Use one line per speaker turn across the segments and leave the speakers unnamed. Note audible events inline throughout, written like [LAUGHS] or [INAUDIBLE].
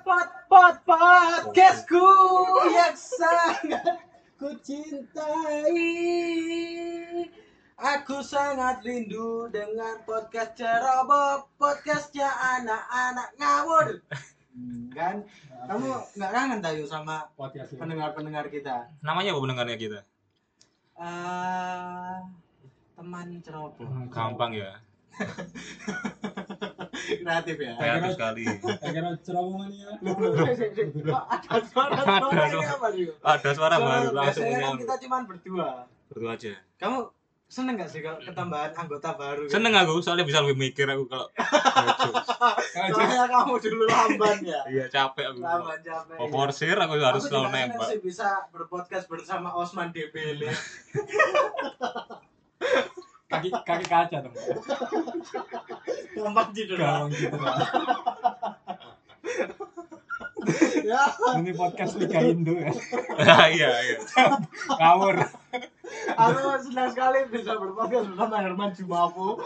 pot podcastku yang sangat ku cintai. Aku sangat rindu dengan podcast ceroboh, podcastnya anak-anak ngawur. Hmm, Kan? Kamu nggak kangen tahu sama
podcast ini.
pendengar-pendengar kita?
Namanya apa pendengarnya kita?
Eh, teman ceroboh.
Gampang ya.
Kreatif ya.
Kreatif sekali.
Saya kira cerobongan ya.
[LAUGHS] Loh, loh, loh, sih, sih. Kok ada suara-suara
Ada
ini
suara.
apa, Rio?
Ada suara baru langsung
Biasanya kan
nyampe.
kita cuma berdua.
Berdua aja.
Kamu seneng gak sih kalau ketambahan anggota baru?
Seneng aku soalnya bisa lebih mikir aku kalau
Soalnya kamu dulu lamban ya.
Iya capek aku.
Lamban capek.
Mau forsir aku harus
Aku juga
selalu
seneng
nembak.
sih bisa berpodcast bersama Osman Debele.
Kaki kaki kaca dong.
Gampang cedera.
Gawang gitu.
Ya,
Ini podcast Liga Indo ya.
Nah, [LAUGHS] iya iya.
Ngawur.
aku senang sekali bisa berpodcast bersama Herman Jumapo.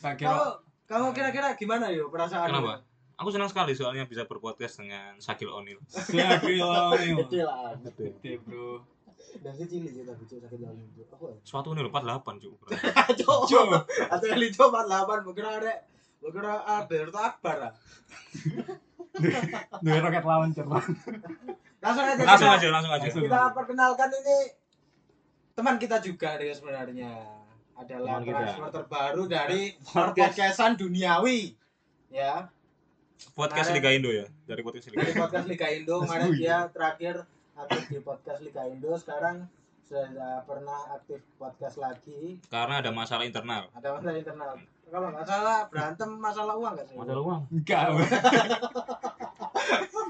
Saya kira
Kamu kamu kira-kira gimana yo perasaan?
Kenapa? Aku senang sekali soalnya bisa berpodcast dengan Sakil Onil.
saya kira ini.
Gede lah. Gede.
Gede, Bro.
Dan sih cilik sih tapi cuma sakit dalam itu. Aku ya.
Suatu ini 48 cuy.
[LAUGHS]
ukuran.
Cok.
Jo.
Atau yang lucu 48 mungkin ada mungkin ada Alberto Akbar ah. lah.
Dua roket lawan Jerman.
Langsung aja.
Langsung
kita-
aja, langsung aja.
Langsung.
kita perkenalkan ini teman kita juga Rio sebenarnya adalah
Teman kita.
transfer terbaru
[LAUGHS]
dari podcastan duniawi ya
Podcast Liga Indo ya. Dari podcast Liga
dari [LAUGHS]
Indo.
podcast Liga
[LAUGHS]
Indo
Mas
Iya.
kemarin
Bui.
dia terakhir aktif di podcast Liga Indo sekarang sudah pernah aktif podcast lagi
Karena ada masalah internal.
ada masalah internal kalau nggak salah berantem masalah uang nggak sih
Masalah uang.
Enggak. Bro.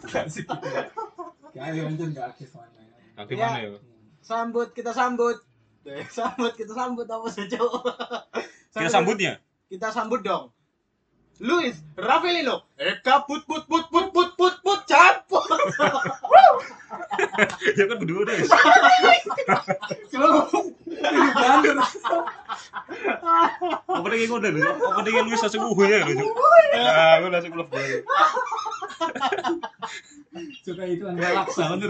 Enggak sih. Enggak, ya mungkin enggak aktif mana ya.
Kaki
Ya.
mana ya?
sambut kita sambut [LAUGHS] Eh, sambut kita sambut apa sih Cok?
Kita
[LAUGHS]
sambutnya.
kita sambut dong. Luis Ravelino, Eka put put put put put put put campur. [LAUGHS]
ya kan berdua deh.
Bandur.
Openingnya kode lho. Openingnya Luis langsung uhuh ya lho. Nah, aku langsung klub gue.
Suka Nah, iklan relaksa bener.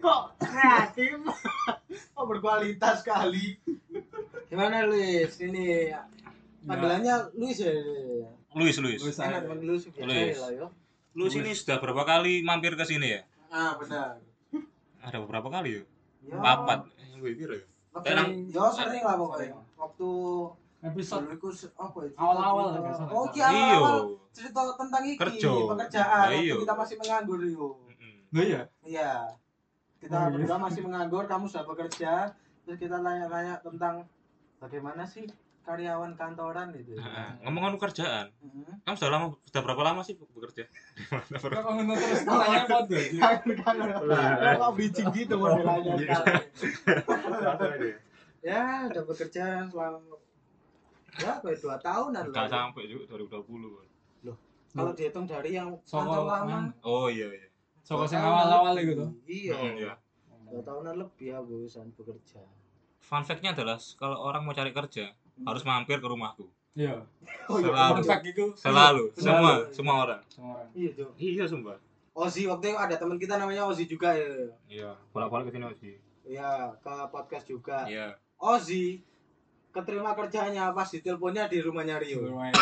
Kok kreatif? Kok berkualitas sekali. Gimana Luis? Ini panggilannya Luis ya.
Luis, Luis.
Luis
Enak
aja.
dengan Luis biasa ya,
Luis.
lah yo.
Luis ini sudah berapa kali mampir ke sini ya?
Ah benar.
Ada beberapa kali ya?
Yo.
Papat. Eh, Gue kira ya. Tenang.
Iya. Yo sering lah pokoknya. Waktu
Episode
dulu itu apa ya?
Awal-awal lah, nggak salah.
Oh, iya
Iyo.
awal-awal. cerita tentang iki
Kerja.
pekerjaan
Lah,
waktu
iyo.
kita masih menganggur yo
Mm-mm.
Lo ya?
iya kita
Oh, iya.
berdua masih menganggur kamu sudah bekerja terus kita nanya-nanya tentang bagaimana sih karyawan kantoran gitu
Nah, ngomongin kerjaan.
Iya.
Mhm.
Kamu sudah lama sudah berapa lama sih bekerja?
Kok ngomong terus pertanyaan bodoh sih.
Kangen-kangen. Kok bridging gitu modelannya
Iya.
sekali. ya udah bekerja selama berapa ya dua tahunan
Enggak
lah
sampai juga 2020.
kalau dihitung dari yang
Soko
kantor lama
men.
Oh iya iya.
Soko
dua
sing
tahunan
awal-awal
lebih.
gitu.
iya
Mm, iya.
dua tahunan lebih ya bosan bekerja
Hmm.
Fun fact-nya adalah kalau orang mau cari kerja
Hmm.
harus mampir ke rumahku.
Iya.
Oh, iya,
Selalu.
bener.
Perfect itu
Selalu,
Selalu.
semua, semua orang.
Semua orang.
Iya, Cok.
Iya, sumpah.
Ozi waktu itu ada teman kita namanya Ozi juga ya.
Iya, bolak-balik ke sini sih.
Iya, ke podcast juga.
Iya.
Ozi keterima kerjanya pas diteleponnya di rumahnya Rio.
Lumayan.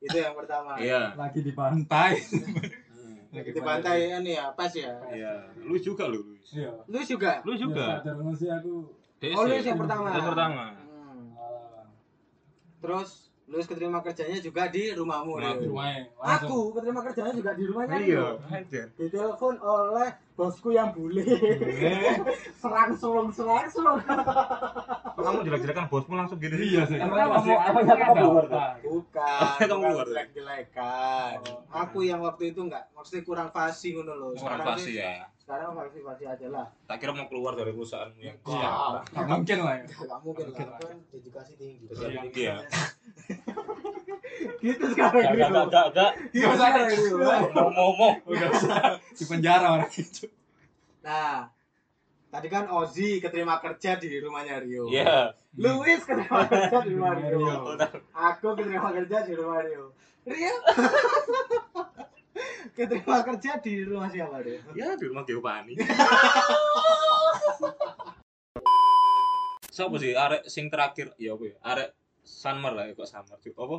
Itu yang pertama.
Iya.
Lagi di pantai.
Hmm.
Lagi
Di pantai ini ya, pas ya.
Iya. Lu juga lu. Luis.
Iya.
Lu juga.
Lu juga.
Ya, sadar sih aku.
Dek,
Oh,
Iya sih.
lu yang pertama.
Yang pertama.
Hmm.
ah,
Terus lu keterima kerjanya juga di rumahmu.
Rumah
Rio.
Lumayan. Langsung.
Aku keterima kerjanya juga di rumahnya
Iya,
Rio.
aja.
Ditelepon oleh bosku yang bule.
Eh,
[LAUGHS] serang serung serang serung.
Kok kamu jelek-jelekan bosmu langsung gini?
Iya sih.
Emang
Kenapa
apa sih?
sih?
Apa
Emang
sih?
ada
Apa
apa?
Bukan,
Kamu
bukan
keluar.
jelek-jelekan.
Oh.
Aku yang waktu itu enggak, maksudnya kurang fasi ngono loh.
Orang pasti ya.
Sekarang fasi-fasi aja lah.
Tak kira mau keluar dari perusahaanmu yang
Iya.
Wah.
Nggak mungkin lah ya.
Enggak mungkin lah,
Mungkin lah.
kan dedikasi tinggi.
Iya. Iya.
[LAUGHS] Gitu sekarang
Gak,
gitu.
gak, gak, gak.
Gitu sekarang gitu.
Mau ngomong.
Di penjara orang itu.
Nah, Tadi kan Ozi keterima kerja di rumahnya Rio.
Iya.
Luis
[LAUGHS]
keterima kerja di rumah
Rumahnya
Rio.
Rio.
Aku keterima kerja di rumah Rio.
[LAUGHS]
Rio. keterima kerja di rumah siapa Rio?
Ya di rumah Geopani.
Siapa sih arek sing terakhir? Ya apa ya? Arek Summer lah, ya, kok Summer cuy. Apa?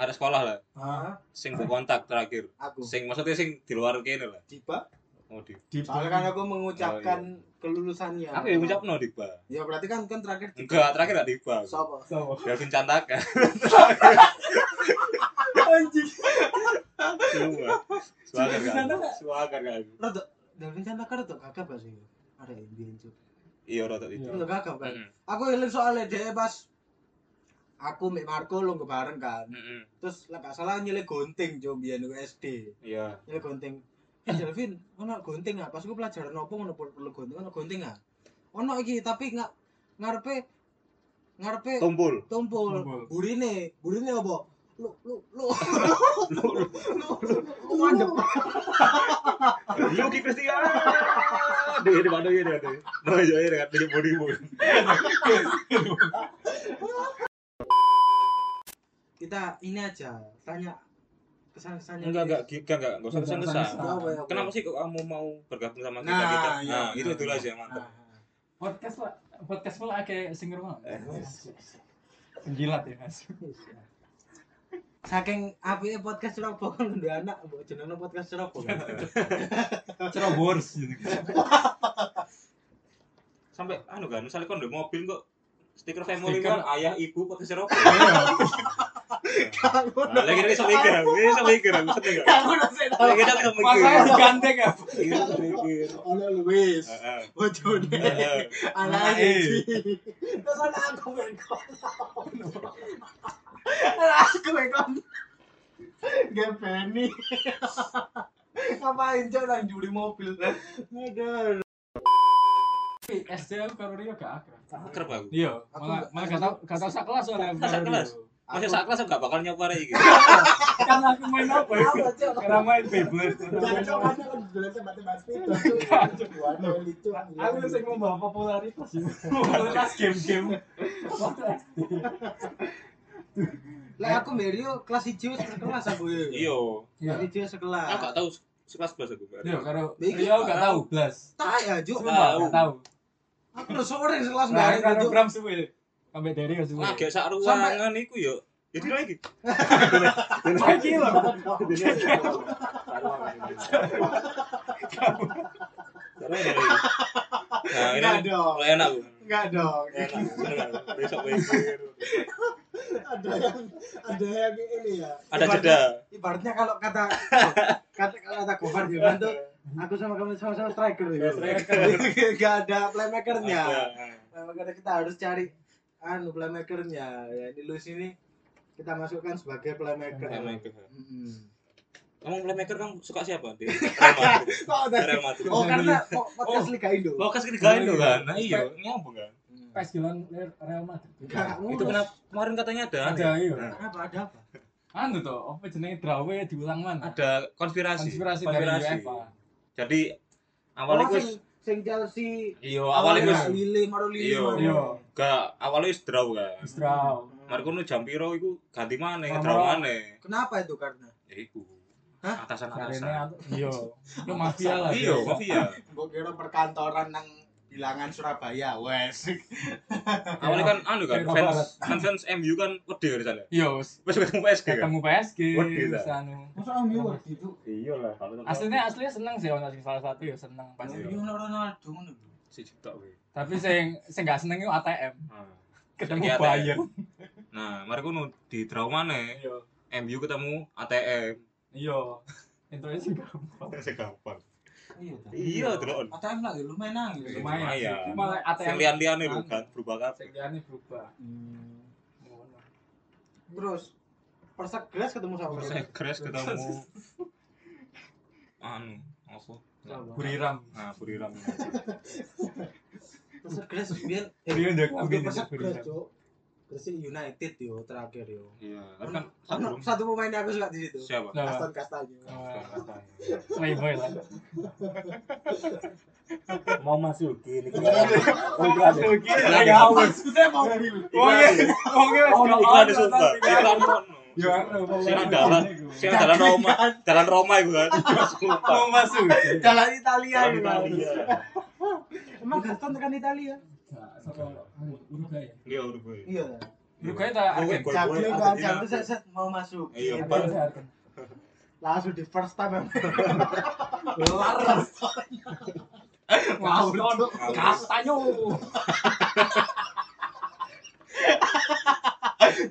Arek sekolah lah.
Ah,
Sing berkontak terakhir.
Aku.
Sing maksudnya sing di luar kene lah.
Tiba.
Oh di.
di
Soalnya kan aku
Oh,
mengucapkan
iya.
kelulusannya.
Apa ya ngucap no Diba?
Ya berarti kan kan terakhir. Dipa.
Enggak, terakhir gak Diba.
Sopo?
So,
Delvin [LAUGHS] Cantaka.
anjing.
Semua. Suagar
Delvin
kan.
Cantaka.
Suagar kan.
Rodo. Delvin Chandaka Rodo gagap gak sih? Ada yang bincang.
Iya rotot itu.
Iya.
Rodo gagap kan?
Heeh.
Aku eling soalnya dia pas aku Mbak Marco lu bareng kan.
Heeh.
Terus lah gak salah nyilek gunting jo biyen aku SD.
Iya.
Nyilek gunting. Eh Delvin, ono gunting ah. Pas aku pelajaran opo ngono perlu perlu gunting, ono gunting ah. Ono iki tapi nggak ngarepe ngarepe
Tumpul.
tumpul.
Tumpul.
Burine, burine opo? Lu lu lu
Lu lu.
lu mandek.
Yuki Kristia. Deh, di mana ya dia tuh? No, yo ya dekat tujuh puluh ribu.
Kita ini aja tanya kesan-kesannya.
Enggak, enggak, enggak, enggak, enggak usah kesan kesan.
Ya, apa, ya, apa.
Kenapa sih kok kamu mau bergabung sama kita
Nah,
kita?
iya,
Nah,
iya,
itu itu
iya.
aja mantap.
Ah, ah.
Podcast lah, podcast lah kayak singer banget.
Eh,
Gilat ya mas.
[LAUGHS] Saking apike podcast Surabaya [LAUGHS] kan nduwe anak mbok jenengno podcast Surabaya.
[LAUGHS]
Cerobors gitu.
Sampai anu kan, misalnya kon di mobil kok stiker Iya. family
Stiker.
kan ayah ibu pakai serok.
Ngono.
Lagi
[LAUGHS]
ini sama Iga, ini sama Iga, aku sedih gak?
Aku nasib tau.
Lagi ini sama Iga.
Masanya digandeng ya.
Iya, sama Iga.
Ono Luis.
Heeh.
Bojone.
Heeh.
Anak
Anake.
Eji. Terus ana aku mengkon. Ana [LAUGHS] aku [LAUGHS] mengkon. Gepeni. [LAUGHS] Ngapain cok nang juri mobil. Aduh.
SD aku karo Rio gak akrab.
Akrab aku.
Iya,
Aku
malah
gak-
malah gak tau gak tau sak kelas soalnya. aku
Gak sak
karo
kelas?
Rio.
Masih sak kelas aku gak bakal nyoba lagi. gitu.
Karena aku main apa ya?
Apa cok?
Karena main Beyblade.
Jangan cok
Aku
ana kan jurusnya mati-mati. Cok, warna lucu.
sih membawa popularitas ya. Popularitas game-game. Waktu SD.
Lah aku Mario kelas 1 wis sekelas aku ya.
Iya.
Iya.
Kelas 1 sekelas.
Aku gak tahu sekelas belas aku. Mbak.
Iya, karo
Iki
Rio gak tau blas.
Tak ya, Juk.
Sumpah, gak tau.
Aku udah sore sekelas
Nah,
bareng
karo
itu.
Bram suwe. Sampai dari ya suwe.
Nah, gak sak
Sampai-
ruangan iku yo. Jadi lagi.
Lagi lho.
Oh, iya, Nah, ini
Enggak dong.
mulai enak Bu.
Enggak dong.
Enak, bener nggak? Besok mikir.
[LAUGHS] Ada yang ada yang ini ya.
Ada
Ibaratnya-
jeda.
Ibaratnya kalau kata [LAUGHS] kata kalau kata Gofar Hilman tuh aku sama kamu sama-sama striker ya. [LAUGHS] Enggak ada playmakernya.
Ada.
Nah, makanya kita harus cari anu playmakernya. Ya ini Luis ini kita masukkan sebagai playmaker. Mm-hmm.
Playmaker.
Mm-mm.
Kamu playmaker kamu suka siapa? Di Real Madrid. [LAUGHS]
Kok ada-
Real Madrid.
Oh
[LAUGHS]
karena po- podcast Liga Indo.
Mau kasih digain lo kan? Nah, iya, nyambung kan.
Pas giliran Real Madrid.
Gak ngurus.
Itu kenapa kemarin katanya ada aneh.
Ada iya.
Kenapa ada apa?
Anu to, apa jenenge drawe diulang mana?
ada konspirasi.
Konspirasi dari UEFA.
Jadi
Oh,
awalnya
sing-
wis
sing Chelsea
iya awalnya wis
gak Lili maru Lili.
Iya.
maru.
Iya.
gak awalnya wis draw kan.
Istrau.
Mari kono jam piro iku ganti maneh,
Lama.
draw maneh.
Kenapa itu karena?
Ya iku.
Hah?
Atasan-atasan.
Karena iya. Itu mafia lah.
Iya, mafia.
Gue kira perkantoran nang bilangan Surabaya, wes.
Awalnya kan anu kan
Kayak
fans
Barat.
kan fans MU kan wedi dari sana.
Iya, wis
Wis ketemu PSG kan.
ketemu PSG
Wedi, ta.
wis anu.
Masa orang dia waktu itu?
Iya lah.
Aslinya aslinya seneng sih ono sing salah satu ya seneng pasti.
Ini orang Ronaldo ngono.
si juta we.
Tapi sing sing gak seneng itu ATM.
Nah.
Ketemu
Iya, ATM.
Bayern.
Nah, mari kono di draw maneh.
Iya.
MU ketemu ATM.
Iya. Intronya sih gampang.
Sing gampang.
Iya. ta.
Iya, delok.
ATM lagi ya, lumayan nang.
Iya.
gitu.
Lumayan.
lumayan.
sih. Malah
Sing
ATM.
lian-liane lho kan berubah
Sing
kabeh.
liyane berubah.
Hmm.
Ngono.
Terus Persegres ketemu sama
Terus Grace ketemu [LAUGHS] anu apa?
Buriram.
Nah, Buriram.
Persegres biar
Jadi udah
Eh,
Udah Persegres, Cuk. Gresik United yo terakhir yo.
Iya, tapi kan
Satu,
satu
satu pemain yang aku suka di situ.
siapa?
Nah,
Aston Castanyo.
playboy lah.
mau masuk
[LAUGHS]
ini
Iya.
oh itu ada
Ya Allah.
Maksudnya mau
Oh iya, oh iya.
Oh,
Mas,
Iklan di
Mas,
Sultan.
Mas, Mas.
Iklan kono.
Ya, Allah.
Sini dalan, sini dalan Roma, dalan Roma itu kan. Sumpah.
Mau masuk.
jalan Italia
Dalan
yo.
Italia.
Emang Aston tekan Italia.
Uruguay.
Iya, Uruguay.
Iya.
Uruguay tak
Uruguay,
Argentina.
Cabut
Uruguay,
kan,
Argentina.
cabut set set mau masuk.
Iya,
Gitu.
baru-
langsung di first time.
Laras. Kaston. Kastanyo.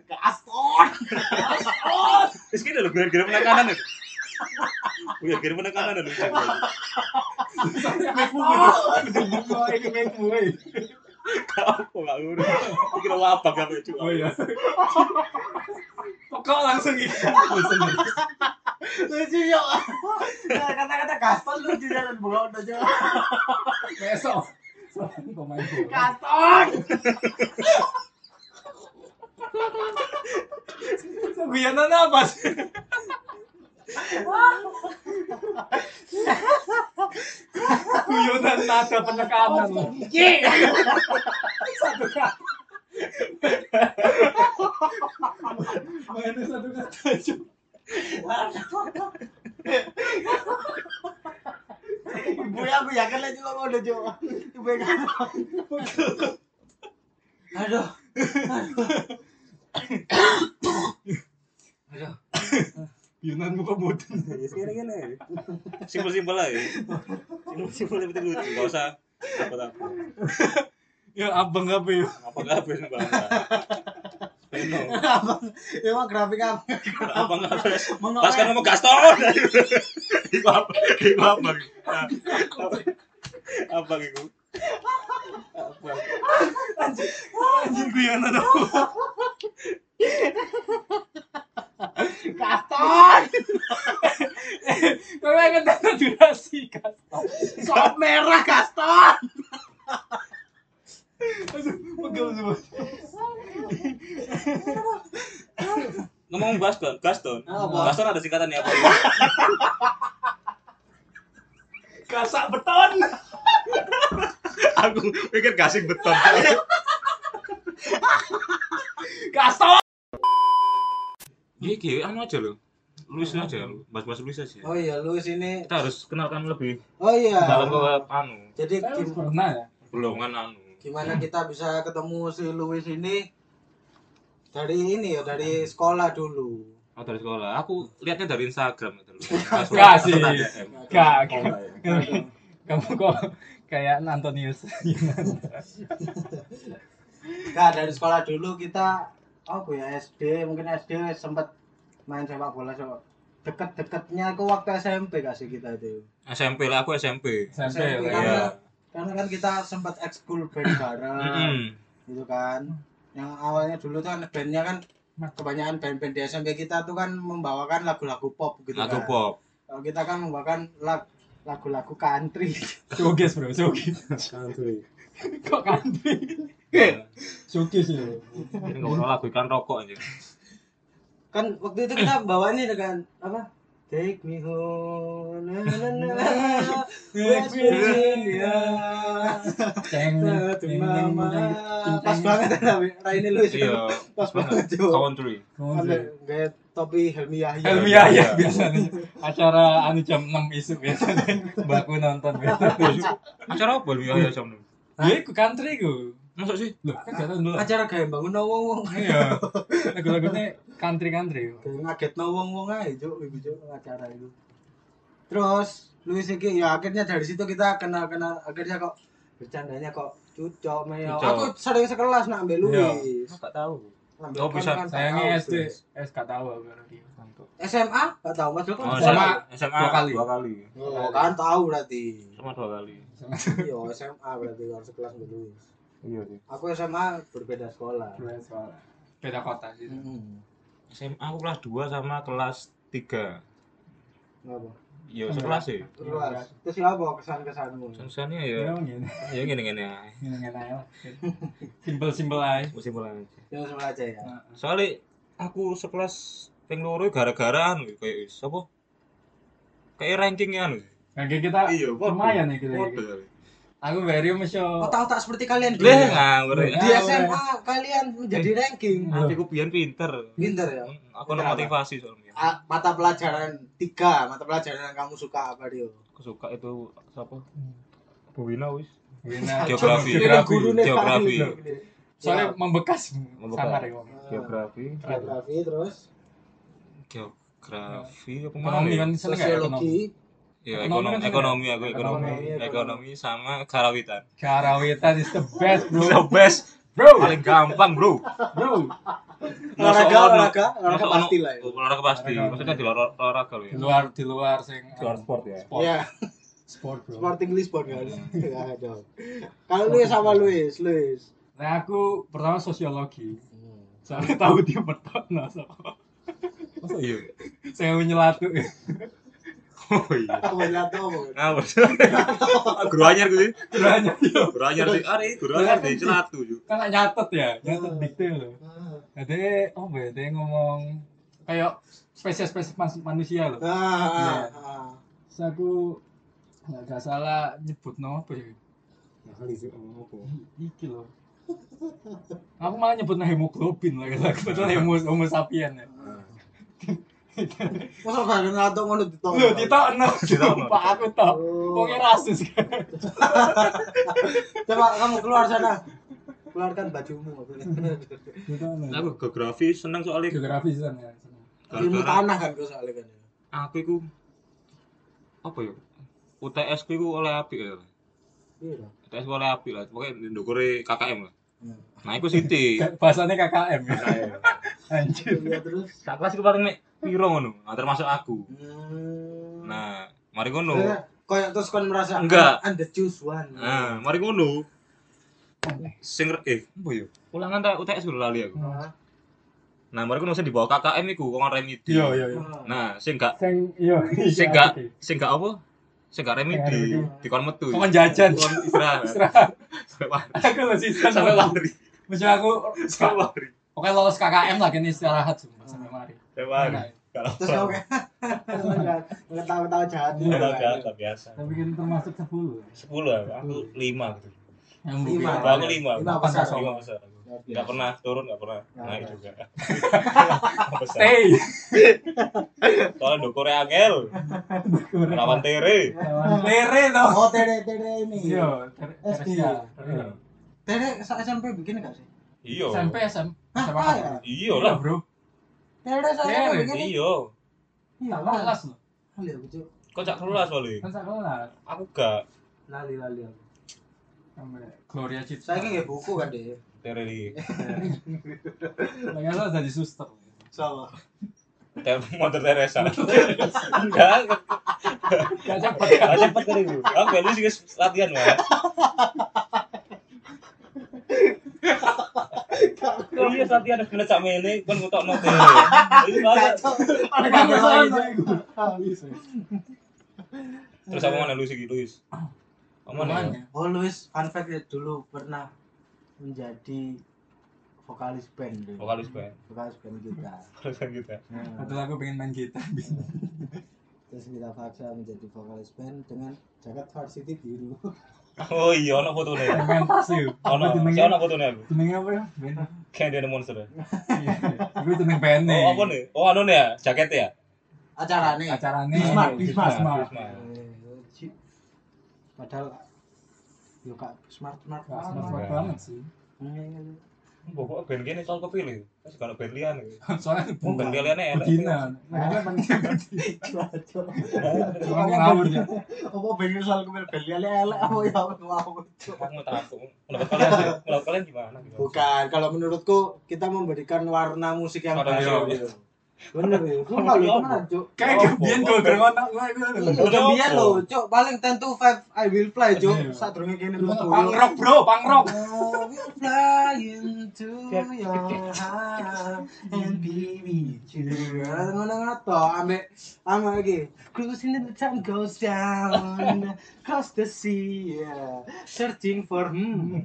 Ke Aston.
Kaston.
Terus kita lho gara-gara penekanan [LAUGHS] itu. Gara-gara penekanan lho.
Oh, ini main mulai.
Gak apa gak ngurus. Kira wabah gak lucu.
Oh iya. [LAUGHS] Pokok langsung gitu.
Lucu yo. Nah, Kata-kata Gaston lucu jalan bola aja.
Besok. Soalnya pemain bola.
Gaston.
Guyonan apa sih? Guyonan nada penekanan loh. Satu kata. Mainnya satu kata cuma.
Ibu ya aku yakin lah juga mau dojo. Ibu ya Gaston. Aduh.
Guyonan muka bodoh.
Gini-gini. Simpel-simpel aja. Simpel-simpel tapi lucu. Gak usah apa-apa.
Ya abang apa ya?
Apa gak habis Mbak? Speno.
Abang, emang grafik apa?
Apa gak habis? Pas
Mengapa?
kan ngomong Gaston. Iku apa? Iku apa? Nah, apa? Apa iku? Apa?
Anjing guyonan apa?
Gaston.
Kau yang kena durasi kan?
Sop merah Gaston.
Aduh, pegel semua.
Ngomong Gaston, Gaston.
Apa?
Gaston ada singkatannya apa?
Kasak beton.
Aku pikir gasing beton.
Kasok.
Iki anu aja lo. Luis aja lo. Bahas-bahas Luis aja.
Oh iya, lu sini.
Hmm. Kita harus kenalkan lebih
Oh iya.
dalam ke anu.
Jadi gim-
pernah ya?
Belum kan anu.
gimana kita bisa ketemu si Luis ini dari ini ya dari sekolah dulu.
Oh, dari sekolah. Aku lihatnya dari Instagram [LAUGHS] gitu loh.
Gak sih.
Asuransi ATM.
Gak. Kamu kok kayak Antonius.
Nah, dari sekolah dulu kita apa ya SD, mungkin SD sempat main sepak bola so. Deket-deketnya ke waktu SMP gak sih kita itu?
SMP lah aku SMP.
SMP
SMP,
ya.
kan?
Iya.
Karena kan kita sempat ekskul band
Hmm.
bareng
Mm-mm.
gitu kan. Yang awalnya dulu tuh kan bandnya kan kebanyakan band-band di SMP kita tuh kan membawakan lagu-lagu pop gitu
Lagu
kan.
pop.
Kalau kita kan membawakan lag- lagu-lagu country. [LAUGHS]
Showcase bro, showcase.
country
Kok kan? country?
Iya.
Showcase ya.
Ini nggak pernah lagu iklan rokok aja.
kan waktu itu kita bawanya dengan apa take me home na, na, na, na,
Iya.
West Virginia
Ceng.
to
ceng,
mama
ceng, ceng,
pas
ceng.
banget tapi Raine Luis
Iya.
pas banget
banget.
tuh
Country.
Kamu
sampai
sih.
gaya topi Helmi Yahya
Helmiah ya biasanya. Acara anu jam 6 isuk biasanya. Mbakku nonton biasanya.
Acara apa lu ya jam enam?
Ya iku country ku.
Masuk sih.
Loh, kan gak tau dulu.
acara gaya bangun no wong wong
Iya. Lagu-lagunya country-country.
ngaget no wong wong aja Cuk, iku Cuk, acara itu terus Luis iki ya akhirnya dari situ kita kenal kenal akhirnya kok bercandanya kok cucok meo
Cucok.
aku sering sekelas nak ambil
Iya.
Luis
Enggak tahu.
Ambil
Oh, bisa.
kan, kan,
Sayangnya
tahu,
SD,
Luis.
S gak tau aku. kalau dia.
SMA nggak tahu mas Joko
Oh,
nggak
SMA,
tahu.
SMA
Dua kali.
Dua kali.
oh, kan tahu berarti
Sama dua kali.
iya SMA berarti harus sekelas dulu
Iya sih.
aku SMA berbeda sekolah
Dua sekolah. Beda kota sih.
hmm.
Mm-hmm. SMA aku kelas 2 sama kelas 3.
Kenapa?
ya sekelas sih
Luas. Terus ya apa kesan-kesanmu?
kesannya ya
Ya, ngene.
ya gini gini aja
Ngene ae lah. Simpel-simpel aja.
mesti mulai
Yang sebelah aja ya.
soalnya aku sekelas ping loro gara-gara anu kayak wis apa kayak rankingnya anu
Nah, Kayak kita lumayan ya kita.
Waduh.
Aku baru
Oh,
masih
tahu tak seperti kalian dulu.
Leh ngawur. ya.
Di SMA kalian menjadi ranking.
Loh.
Aku biyen pinter.
Pinter ya.
Mm, Aku ono motivasi soalnya.
A- mata pelajaran tiga mata pelajaran yang kamu suka apa dia?
Aku suka itu siapa? Buwina wis.
Wina.
Geografi.
Kira gurunya
Geografi.
Pak.
Soalnya membekas.
Membekas.
Sama ya. Om.
Geografi.
Geografi terus
Geografi apa mana?
Ekonomi
ya?
kan seneng nggak ekonomi.
Sosiologi.
Ya
Ekonomi
ekonomi
kan
ekonomi aku ekonomi.
Ekonomi, ekonomi.
Ekonomi sama
[LAUGHS]
karawitan.
Karawitan is the best
The
bro.
best.
Bro,
Paling gampang, Bro.
bro.
Masuk
Olahraga,
ono-
olahraga, olahraga
masuk ono- Oh,
pasti lah ya.
Olahraga pasti.
Olahraga.
Maksudnya di luar- olahraga loh
Di
ya.
luar di luar sing
sport ya.
sport.
Iya,
Sport bro.
Sporting Lisbon kan. Nggak ada. Kalau Luis sama Luis, Luis.
Nah aku pertama sosiologi. Soalnya tahu dia bertanya sama.
Masa iya?
Saya menyelatu. [LAUGHS]
Oh iya.
Kamu lihat ngomong.
Ngawur. [LAUGHS] Guru anyar gue.
Banyak.
Guru anyar sih. Are guru anyar di celatu yuk.
Kan nggak nyatet ya, nyatet
Hmm.
dikte loh. Jadi, oh be, dia ngomong kayak spesies-spesies mas- manusia loh.
Ah, ah, ah.
Terus aku nggak nggak salah nyebut nama apa ya?
Kali sih ngomong apa?
Iki loh. Aku malah nyebut hemoglobin lah kata aku padahal hemo homo sapien ya.
Masa gak kenal tuh ngono ditolong?
Loh, ditokno. [LAUGHS]
Ditokno.
Pak aku tok.
Oh.
Wong rasis kan.
Coba kamu keluar sana. Keluarkan bajumu.
Ditokno.
Aku geografi seneng soalnya
geografi sana ya.
Ilmu
Gara-gara-
tanah kan gue soalnya kan.
aku iku apa ya? UTS ku iku oleh apik ya.
Iya. dong.
UTS ku oleh apik lah, pokoke ndukure KKM lah.
Hmm.
Nah, iku Siti.
Bahasanya KKM ya. Anjir.
Iya terus.
Sak kelas iku paling mek piro ngono, nah, termasuk aku.
Hmm.
Nah, mari ngono.
Iya.
Kayak- Kayak terus kan merasa
Enggak.
I'm the choose one.
Nah, mari ngono. Sing re- eh, apa ya? Ulangan ta UTS dulu lali aku.
Iya.
Ah.
Nah, mari ngono sing dibawa KKM iku wong remedi.
Iya, iya, iya.
Nah, sing gak
Sing iya.
sing gak sing gak apa? Sing gak remedi,
remedi.
dikon metu.
Kon jajan.
Kon istirahat.
[LAUGHS] Istirahat.
Sampai pagi.
aku lo season
Sampai lari.
Maksudnya aku
Sampai lari.
pokoknya lolos KKM lah kini istirahat sumpah sampai mari.
Sampai lari.
Iya.
Enak.
Terus
nah,
kamu kayak [LAUGHS] nggak tahu tahu jahat.
Kalau kata biasa.
Tapi kan termasuk 10.
Sepuluh aku, aku lima gitu.
Yang
Lima.
mungkin.
Kalau aku lima,
Lima
lima
besar.
besar, lima besar. aku. Nggak pernah turun, Iya. nggak pernah naik juga. Lima besar.
Stay.
Soalnya dukure angel, lawan tere.
Tere toh.
Oh tere tere ini.
Iya, Ter-
SD.
Teresia.
Tere sa- SMP bikin nggak sih?
Iyo.
SMP SM.
Hah,
Sama
ah,
aku.
ya.
Iyo Iya. lah.
Bro.
Tere sa- SMP
Tere,
bikin.
Iyo.
Iya
Tak
lah.
kelas loh.
Lali aku Cuk.
Kok cak kelas wali?
Kan sak kelas.
Aku gak
Lali lali aku.
Sampai Gloria Citra.
Saya kayak buku kan deh.
tere di.
Lah, nggak salah jadi suster.
Sama.
Tere motor Teresa. Enggak.
Gak cepet.
Gak cepet kali itu. Aku beli sih guys, latihan mah. Iya latihan harus kena cak mene, kan kutok no tere. Itu banget.
Ada
Gak Ah,
kamera
salah
lagi.
Terus aku mana lu sih Luis? Kamu mana?
Apaan ya?
Oh Luis, fun fact ya, dulu pernah menjadi vokalis band. Luis.
Vokalis band.
Vokalis band kita.
Vokalis band kita.
Nah,
Padahal aku pengen main gitar.
terus kita paksa menjadi vokalis band dengan jaket varsity biru.
Oh iya, ono fotone.
Main tas yuk.
Ono,
Apa
si
jenengnya?
ono fotone aku.
Jenengnya apa ya? Band.
Kayak dia monster.
Gue jeneng band
Oh, apa nih? Oh, anu nih ya, jaket ya?
Acaranya.
Acaranya
Bismarck,
Bismarck.
Bismarck.
Eh, ci- Padahal yo kak smart smart
Nggak
banget.
smart
Bismarck.
banget sih. [LAUGHS]
Hmm.
Pokoknya band gini soal kepilih. Terus kalau band lian.
Soalnya kan.
Oh, band lian
gitu.
enak.
Bedina.
Nah,
Makanya [LAUGHS] pengen
Cocok.
Orang ngawur ya.
Apa bener soal kemarin beli elek apa ya wow.
Aku mau takut. Menurut kalian, menurut kalian gimana?
Bukan, kalau menurutku kita memberikan warna musik yang
Warna
baru
baru.
gitu. Bener ya. Sumpah lu temenan, Cuk.
Kayak kemudian gol ngono gue
oh, Iya, udah biar lo, Cuk. Paling tentu five I will fly, Cuk. Saat durunge kene lu
Pangrok bro, pangrok.
Oh, we're flying to your heart and be with you. Ngono-ngono to, ambek ama iki. Cruising in the time goes down across the sea. yeah. Searching for hmm.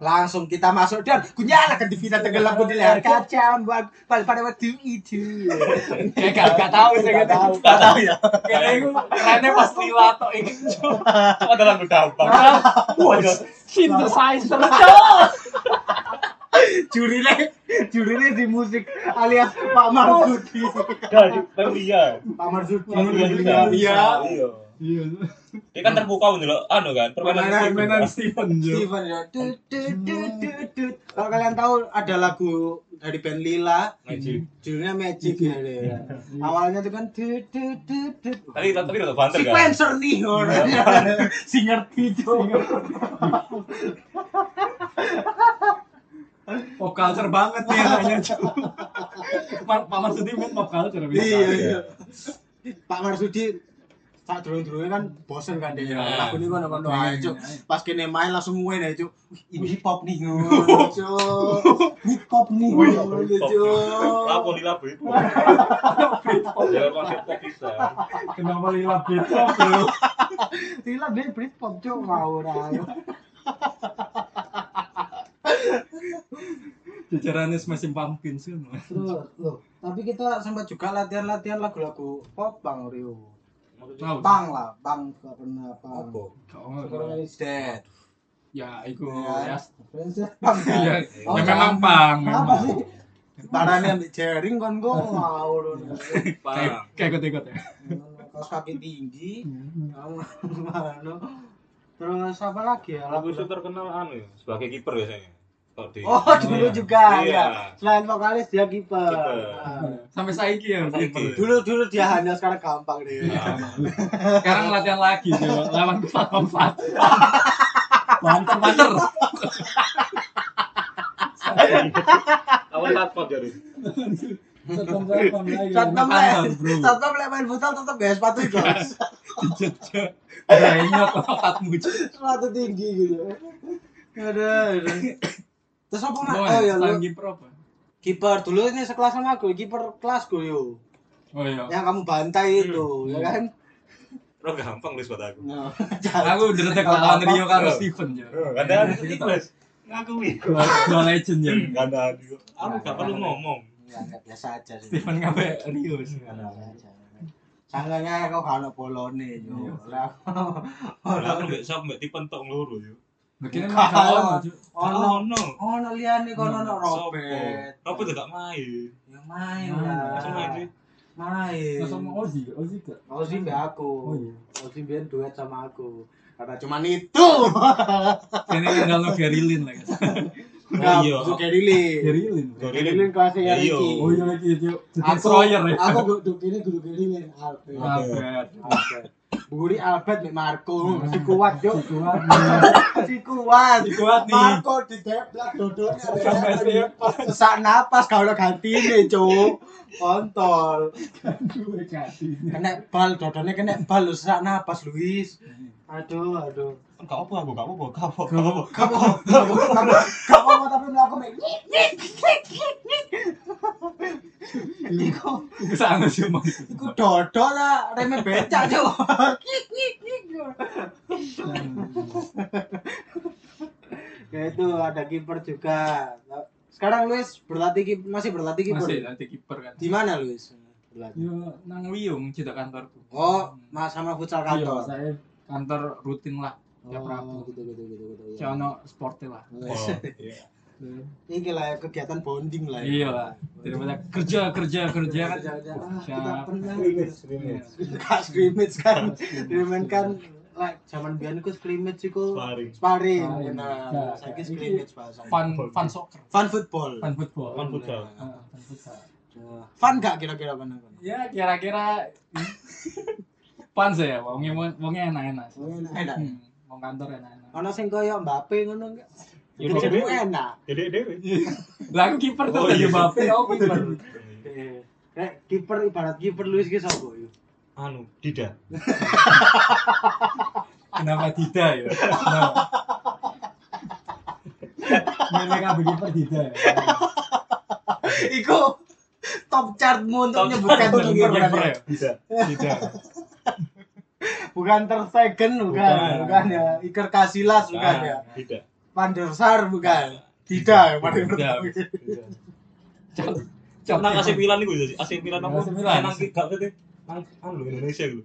Langsung kita masuk dan kunyala ke divina tenggelam pun di layar kaca mbak pada pada waktu itu.
Kayak gak gak tahu sih gak tahu.
Gak tahu ya.
Kayaknya gue kerennya pas lilato ini.
Ada lagu gampang.
Wah, synthesizer cok.
Jurine, jurine di musik alias Pak Marsudi.
Dari Perugia.
Pak Marsudi.
Iya.
Iya.
Dia kan terbuka loh, anu kan, permainan
Permainan Steven Jo.
Steven ya. Tut, tut, tut, tut, tut. Kalau kalian tahu ada lagu dari band Lila,
Magic.
judulnya Magic ya. dia. Awalnya itu kan tut, tut, tut, tut.
Tadi tadi udah banter
Si
kan.
Spencer nih orang.
[LAUGHS]
Si ngerti [LAUGHS] juga.
Pop culture banget
[LAUGHS]
nih anaknya cok. Ma- Pak Marsudi main pop culture bisa.
Iya, iya. Pak Marsudi saat dulu-dulu kan bosen kan dia
Iya.
lagu ini kan kan doa cuk pas kene main langsung nguen ya cuk Wih, ini [LAUGHS] hip hop nih ngono cuk hip hop nih ngono cuk
Lapo di lapo itu.
Ya,
Jangan pakai pop bisa.
Kenapa lila beda bro?
Tila dia Britpop cuk mau ora.
Jajarannya smashing pumpkins kan.
Terus loh, tapi kita sempat juga latihan-latihan lagu-lagu pop Bang Rio.
Tahu.
Bang lah, Bang gak pernah Bang.
Apa?
Gak mau,
Superman
bro.
is dead.
Ya, itu
Ya.
ya.
Princess Bang.
Ya,
[LAUGHS] Oh,
ya
jangan.
memang pang,
Apa
memang.
sih? Parane ambek jaring kon go mau lho.
Kayak kayak ikut-ikut
[LAUGHS]
ya.
Kaos kaki tinggi. Ngono. Terus apa lagi ya?
Lagu
Lagu
itu terkenal anu ya, sebagai kiper biasanya. Kalau di
Oh, dulu
Iya.
juga
Iya.
ya. Selain vokalis dia kiper.
Kiper.
Nah.
Sampai saiki ya.
Sampai saiki.
Dulu dulu dia handal sekarang gampang deh.
Iya.
Sekarang latihan lagi coba lawan
[LAUGHS]
Platform 1. Banter banter.
Awal lapo dari.
Satpam Satpam lagi.
Satpam
Enak
lek, [LAUGHS]
banget, bro.
satpam lek main futsal tetep gaya sepatu itu.
[LAUGHS]
Dijejek. Brenyot otakmu. Cuk.
Sepatu tinggi gitu. Ada, ada. Terus apa mak?
Gimana?
Oh ya
Selain
lu
kiper apa?
kiper dulu ini sekelas sama gue, kiper kelas gue yo.
Oh iya.
Yang kamu
Hmm.
bantai itu, ya kan?
Lo gampang lu buat aku.
Nah,
Aku deretek lawan Rio karo Steven ya.
Ada anu Nicholas. Ngakui.
Dua legend ya.
Gak ada. Dio.
Aku gak perlu ngomong.
ya nggak biasa aja sih.
Steven ngabe Rio sih. kan.
Sangganya kau kalau polone
Iya.
yo. Lah, [LAUGHS]
Lah aku mbek sop mbek tipen tok ngloro yo.
Mungkin
Kalah.
emang kalah, Cuk.
Ono,
Oh no.
ono liane kono ono Robert. Ah.
Robert. Robert gak main.
Ya main
Main.
lah.
Langsung main sih.
Main.
Terus sama Ozzy, Ozzy gak?
Ozi mbak aku.
Oh, iya.
Ozi biar duet sama aku. Karena cuman itu. [LAUGHS]
Ini ngandalno Gary Lin lah guys.
Nah,
iya.
Untuk Gary Lin.
Gary Lin. bro.
Gary Lin kelasnya ya
Iya.
Ricky.
Oh iya lagi itu jadi
Aku
Sawyer ya.
Aku duduk ini duduk Gary Lin. Alfred.
Abad.
Alfred. Buri Albert mek Marco. Si kuat yo.
Kuat
Si kuat.
nih. Kuat nih.
Marco di deplak dodone.
Sampai sepak.
Sesak napas kalau lo gantine, Cuk. Kontol.
Gue kasih.
Kena bal dodone kena bal lo sesak napas Luis. Aduh, aduh.
Gak apa aku gak apa gak apa. Gak apa.
kamu kamu kamu kamu mau tapi melakukan kayak nyik, nyik, nyik, nyik, nyik. Iku
Gue sangat sih Mas.
iku dodo lah reme becak cuk. Nyik, nyik, nyik. Ya itu ada kiper juga. Sekarang Luis berlatih kip- masih berlatih kiper.
Masih nanti kiper kan.
Di mana Luis? Berlatih.
Yo nang Wiyung cedek kantorku.
Oh, mas sama futsal
Hmm. Iya,
kantor.
saya kantor rutin lah. Tiap
Oh,
Rabu. Oh.
gitu gitu gitu gitu. ya.
Ciano sporty lah.
Oh,
Wes, [LAUGHS]
iya.
Ini lah kegiatan bonding lah. ya.
Iya lah. Daripada kerja kerja kerja kan.
Kerja-kerja. Ah,
Kerja.
kita pernah
Iya.
Kak scrimmage kan. Scrimmage kan like zaman biyen ku scrimmage iku
Sparring.
sparring.
Sparring.
Nah,
Nah,
saiki
iki
scrimmage bahasanya.
Fun fun soccer.
Fun football.
Fun football.
Kan futsal.
Ah, fun futsal.
Nah, Fun gak kira-kira bener
Ya kira-kira fun sih ya. Wongnya wongnya enak-enak. sih.
Enak.
Hmm, Mau kantor enak-enak.
Ono sing koyo Mbappe ngono enggak? Jadi
Mbappe.
enak.
Jadi dewe.
Lah aku kiper tuh tadi Mbappe aku
[LAUGHS]
kiper.
Iya. Kayak kiper ibarat kiper Luis ki sapa yo?
Anu,
Dida.
Kenapa tidak ya? Nah. Nenek aku kiper tidak. ya?
[LAUGHS] Iku top chartmu untuk menyebutkan
Kiper,
kiper
kiper
berarti.
ya?
Dida.
Tidak.
bukan ter Stegen bukan,
Bukan.
bukan ya. Iker Casillas bukan ya.
Ah,
Dida.
Van der Sar bukan. Tidak ya Van der Sar.
Dida.
Cok. Cok.
Nang AC Milan iku jadi AC Milan apa?
AC Milan.
Nang ki gak kete. Nang anu lho,
Indonesia gitu.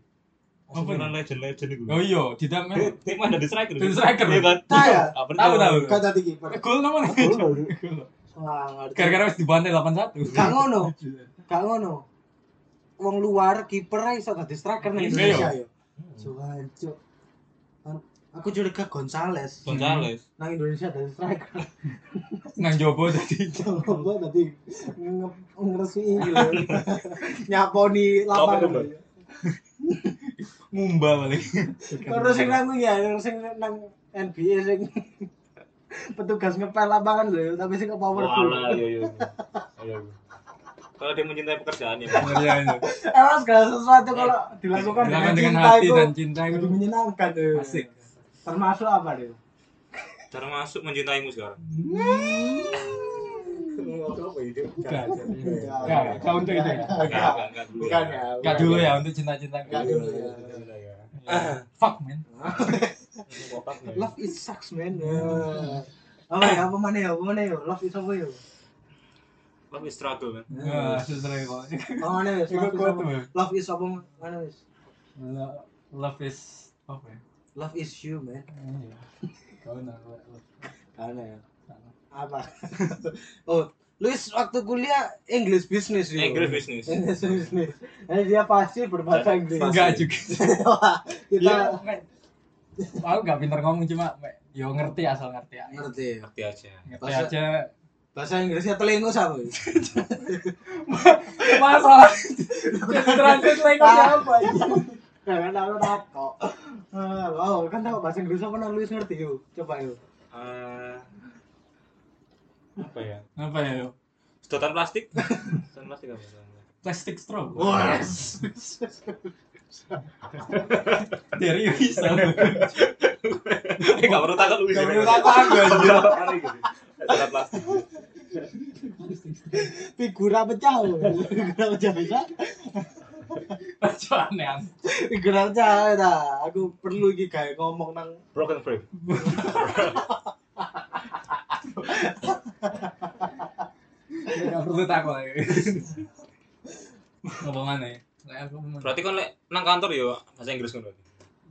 AC Milan legend-legend iku.
Oh iya, tidak
Dia
men.
dia mah dari striker.
Dari striker.
Iya kan?
Tahu ya?
Apa
Tahu tahu.
Kau tadi kiper.
Gol nama nih.
Gol, gol.
Gol.
Wah, ngerti.
Gara-gara wis dibantai 81.
Gak ngono. Gak ngono. Wong luar kiper ae iso dadi striker nang
Iya,
Indonesia yo. Cuman cuk. An- Kan, Aku curiga Gonzales
Gonzales.
nang Indonesia dari striker. [LAUGHS]
Nang jobo tadi.
Coba tadi nge- ngeresui gitu. [LAUGHS] Nyaponi
Iya. Apa
lapangan.
itu,
Ngumba paling.
Terus sing nang ya, sing nang NBA sing [LAUGHS] petugas ngepel lapangan lho, tapi sing ke powerful.
yo yo. Kalau dia mencintai pekerjaannya.
Iya iya.
[LAUGHS] Emang segala sesuatu kalau
Eh,
dilakukan
Dilakukan
dengan
dengan
cinta
hati
itu
dan cinta
lebih
itu
menyenangkan. lho.
asik.
Termasuk apa lho?
Termasuk mencintaimu sekarang.
Enggak.
Enggak,
Enggak, enggak untuk itu. ya.
Enggak,
Enggak, enggak, enggak dulu.
Bukan ya.
Enggak dulu ya untuk cinta-cinta.
Enggak dulu ya.
Iya. Fuck man. ya.
Love is sucks man. Apa ya, apa mana ya, apa mana ya? Love is apa ya?
Tapi struggle kan.
Nah, sesuai kok. [LAUGHS]
Apa mana ya?
Iku
Love is apa?
kuat tuh.
Love is apa mana ya?
Lo- Love is apa ya?
Love is you man.
Iya. Kau nak love.
Karena ya.
Karena.
Apa? [LAUGHS] oh, Luis waktu kuliah English business yo.
English business.
English business. Jadi dia pasti berbahasa Inggris.
Enggak juga.
[LAUGHS] Wah, Kita
Iya, Mek. aku nggak pinter ngomong cuma Mek, yo ngerti asal ngerti aja.
ngerti ya.
Ngerti aja.
Ngerti
Bahasa-
aja.
Bahasa Inggrisnya telingo sama. [LAUGHS] ya?
Masalah. Jadi transit lagi apa? ya,
Jangan aku takut. Ah, Wow, kan tahu bahasa Inggris apa nang Luis ngerti yo. Coba yo.
Eh, apa ya?
Apa ya? yo?
Sedotan plastik. Sedotan plastik apa? Sedotan plastik.
Plastic straw.
Wes.
Dari bisa.
Eh, nggak perlu takut lu.
Gak perlu takut aku aja.
Sedotan plastik.
Figura pecah. yo. [LAUGHS] Figura pecah bisa.
Cuma aneh.
Figura pecah ya, dah. Aku perlu iki gawe ngomong nang
Broken frame.
Gak perlu takut lagi. Ngomong aneh. Lah, aku mau-
Berarti kan lek nang kantor yo bahasa Inggris kan berarti.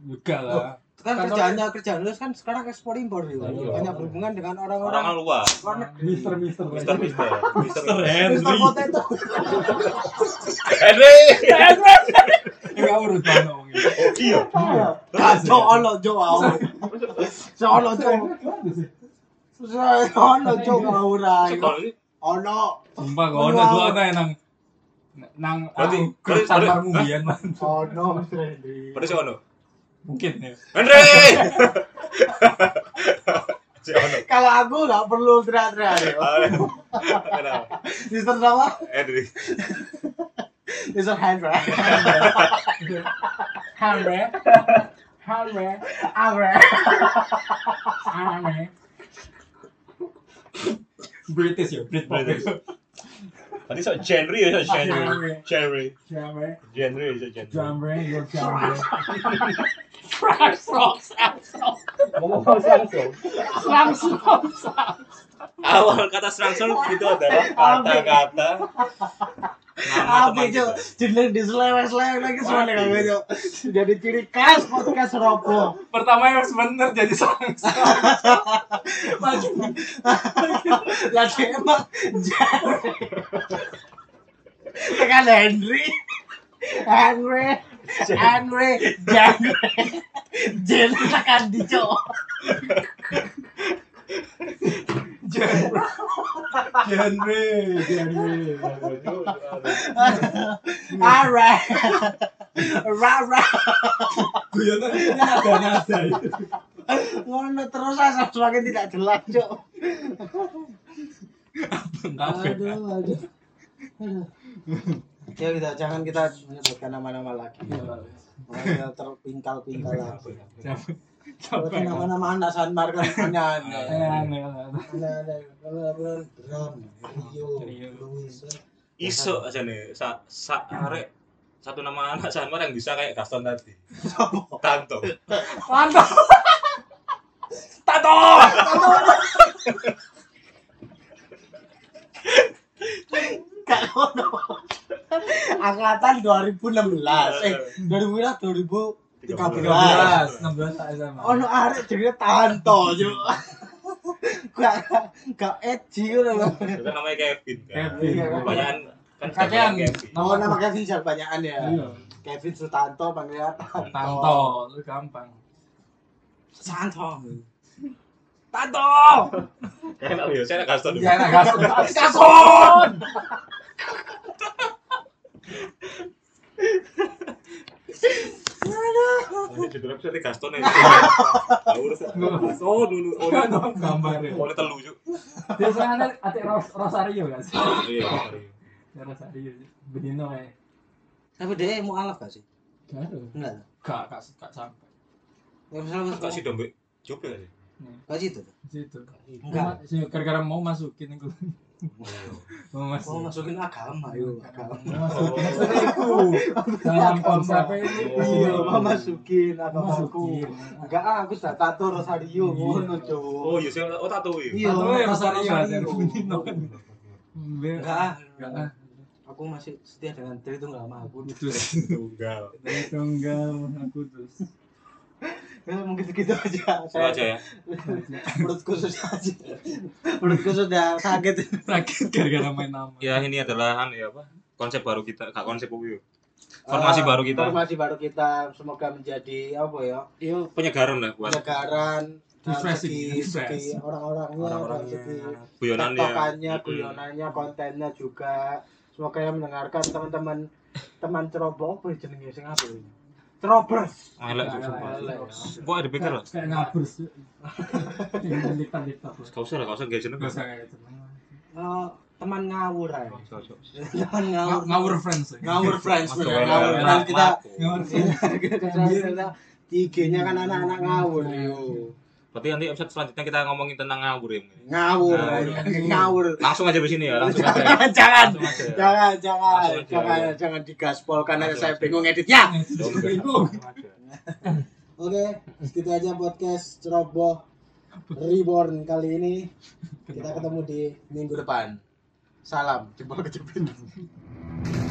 Juga lah.
kan
Kantor-
kerjaannya kerjaan lu kan sekarang ekspor impor gitu banyak berhubungan dengan
Orang kan
orang-orang
luar.
luar negeri
Oh, Mister Mister.
Mister Mister. Mister
Mister Potato
Henry.
Enggak urut banget ngomongnya.
Oh iya.
Nah, jo ono jo wae. Jo ono jo. Jo ono jo ora.
Sekolah ini.
Ono.
Sumpah gak ono tuh ono yang nang nang
Berarti-
aku
berarti-
grup tanpa
berarti-
ngumbian man.
Ono Mr. Hendri.
Berarti si Ono.
Mungkin ya.
Henry. Si Ono.
Kalau aku nggak perlu teriak-teriak. yo.
Kenapa?
Mister sama
Henry.
Mister Hendra.
Hamre. Hamre.
Abre.
Hamre. British ya, Brit pop.
British. Berarti so genre ya, so genre. Genre.
Jamre,
Genre ya, so genre.
jamre, yo jamre. Frog frog frog frog. Frog frog frog.
Awal kata Strangsor itu [LAUGHS] adalah kata-kata nama
Abe
teman
jo.
kita.
Jeneng diseleweng-seleweng lagi semuanya kamu jo. Jadi ciri khas podcast Robo.
Pertama yang bener jadi sang. Maju.
Lah dia emang jare. Tekan Henry. Henry. Henry. Jare. Jen tekan di Jo.
Genre. Genre, genre.
Ara. Rara.
Guyonannya ada nada. ya.
ngono terus asal semakin tidak jelas cok
Kabeh.
aduh aduh Aduh. ya kita jangan kita menyebutkan nama-nama lagi Makanya terpingkal-pingkal lagi berarti
Coba.
nama-nama anak Sanmar kan aneh-aneh Aneh-aneh. Kalau bulan Bram, Rio,
Rio.
Luis,
iso aja nih sa sa arek satu nama anak sama yang bisa kayak Gaston tadi Tanto
Mantap. Tato.
Gak ngono. Angkatan 2016, eh 2016 2013.
16 tak sama.
Ono arek jenenge Tanto, Cuk. Gak gak edgy ngono.
itu namanya Kevin kan
Kevin. Iya.
kebanyakan kan
Kakean.
kebanyakan Kevin
Nama nama Kevin jar banyakan ya.
Iya.
Kevin Sutanto panggilnya Tanto.
Tanto, lu gampang.
Tanto.
Tanto.
enak ya saya enak Gaston
Ya enak gasut. Gasun.
di drop saya Gaston ya [LAUGHS] tahu terus oh dulu oh
Udah dong gambar.
oh telu yuk
Biasanya atik kan Ros Rosario gak sih?
iya
Ya, Rosario. Benino ya.
Tapi dia mau alaf gak sih?
Baru.
Enggak.
Gak, gak, gak sampai.
Enggak masalah.
kok si dombe coba ya
Gak situ.
Di Situ.
Enggak.
Cuma- sih, Gara-gara mau masukin aku. Mau
Mau
masukin.
masukin agama yuk, agama.
Mau masukin. Dalam konsep
Iya,
itu.
mau masukin agamaku.
Masukin.
Enggak ah, aku sudah tato Rosario ngono,
oh
Cuk.
iya saya oh tato ya
Iya,
Tatoe Rosario,
Rosario.
ada Benino. Enggak.
Enggak ah.
Enggak ah.
Aku masih setia dengan Tritunggal aku.
Kudus.
tunggal
Tunggal aku terus.
Ya, mungkin segitu aja.
itu aja ya
Perutku sudah aja. Perutku sudah sakit.
Sakit gara-gara main nama.
ya ini adalah anu ya apa konsep baru kita kak konsep apa ya? yuk Formasi
Eh,
baru kita.
Formasi baru kita semoga menjadi apa ya?
iya penyegaran lah buat
Penyegaran dari
Refreshing,
segi, segi
refreshing.
orang-orangnya, dari
orang-orangnya
segi
guyonannya
Iya, tektokannya,
Mm.
guyonannya, kontennya juga. Semoga yang mendengarkan teman-teman teman ceroboh apa ya jenenge sing apa ya? Cerobers.
elek tuh sumpah
Elek.
Gua ada pikir lah
Kayak ngabers. Lipta-lipta.
Gak usah lah, gak usah gadget
Gak
Gak
usah kayak gitu.
Eh, teman ngawur ae.
usah, gak usah.
[LAUGHS] teman ngawur.
Ngawur- Ngawur friends. ya.
Ngawur friends
Mas,
bener.
gak
Ngawur
enak,
friends kita
laku.
Ngawur friends.
kita [LAUGHS] IG-nya kan anak-anak ngawur yo.
Berarti nanti episode selanjutnya kita ngomongin tentang ngawur ya mungkin.
Ngawur,
Ngawur.
ngawur.
Langsung aja di sini ya,
[LAUGHS]
langsung aja.
Jangan, jangan.
Langsung aja.
Jangan, jangan,
Langsung aja.
jangan, jangan digaspol karena
Langsung
saya
aja.
bingung editnya.
Langsung aja.
Bingung.
Langsung aja.
Oke, segitu aja podcast ceroboh reborn kali ini. Kita ketemu di minggu depan. Salam jempol kejepit.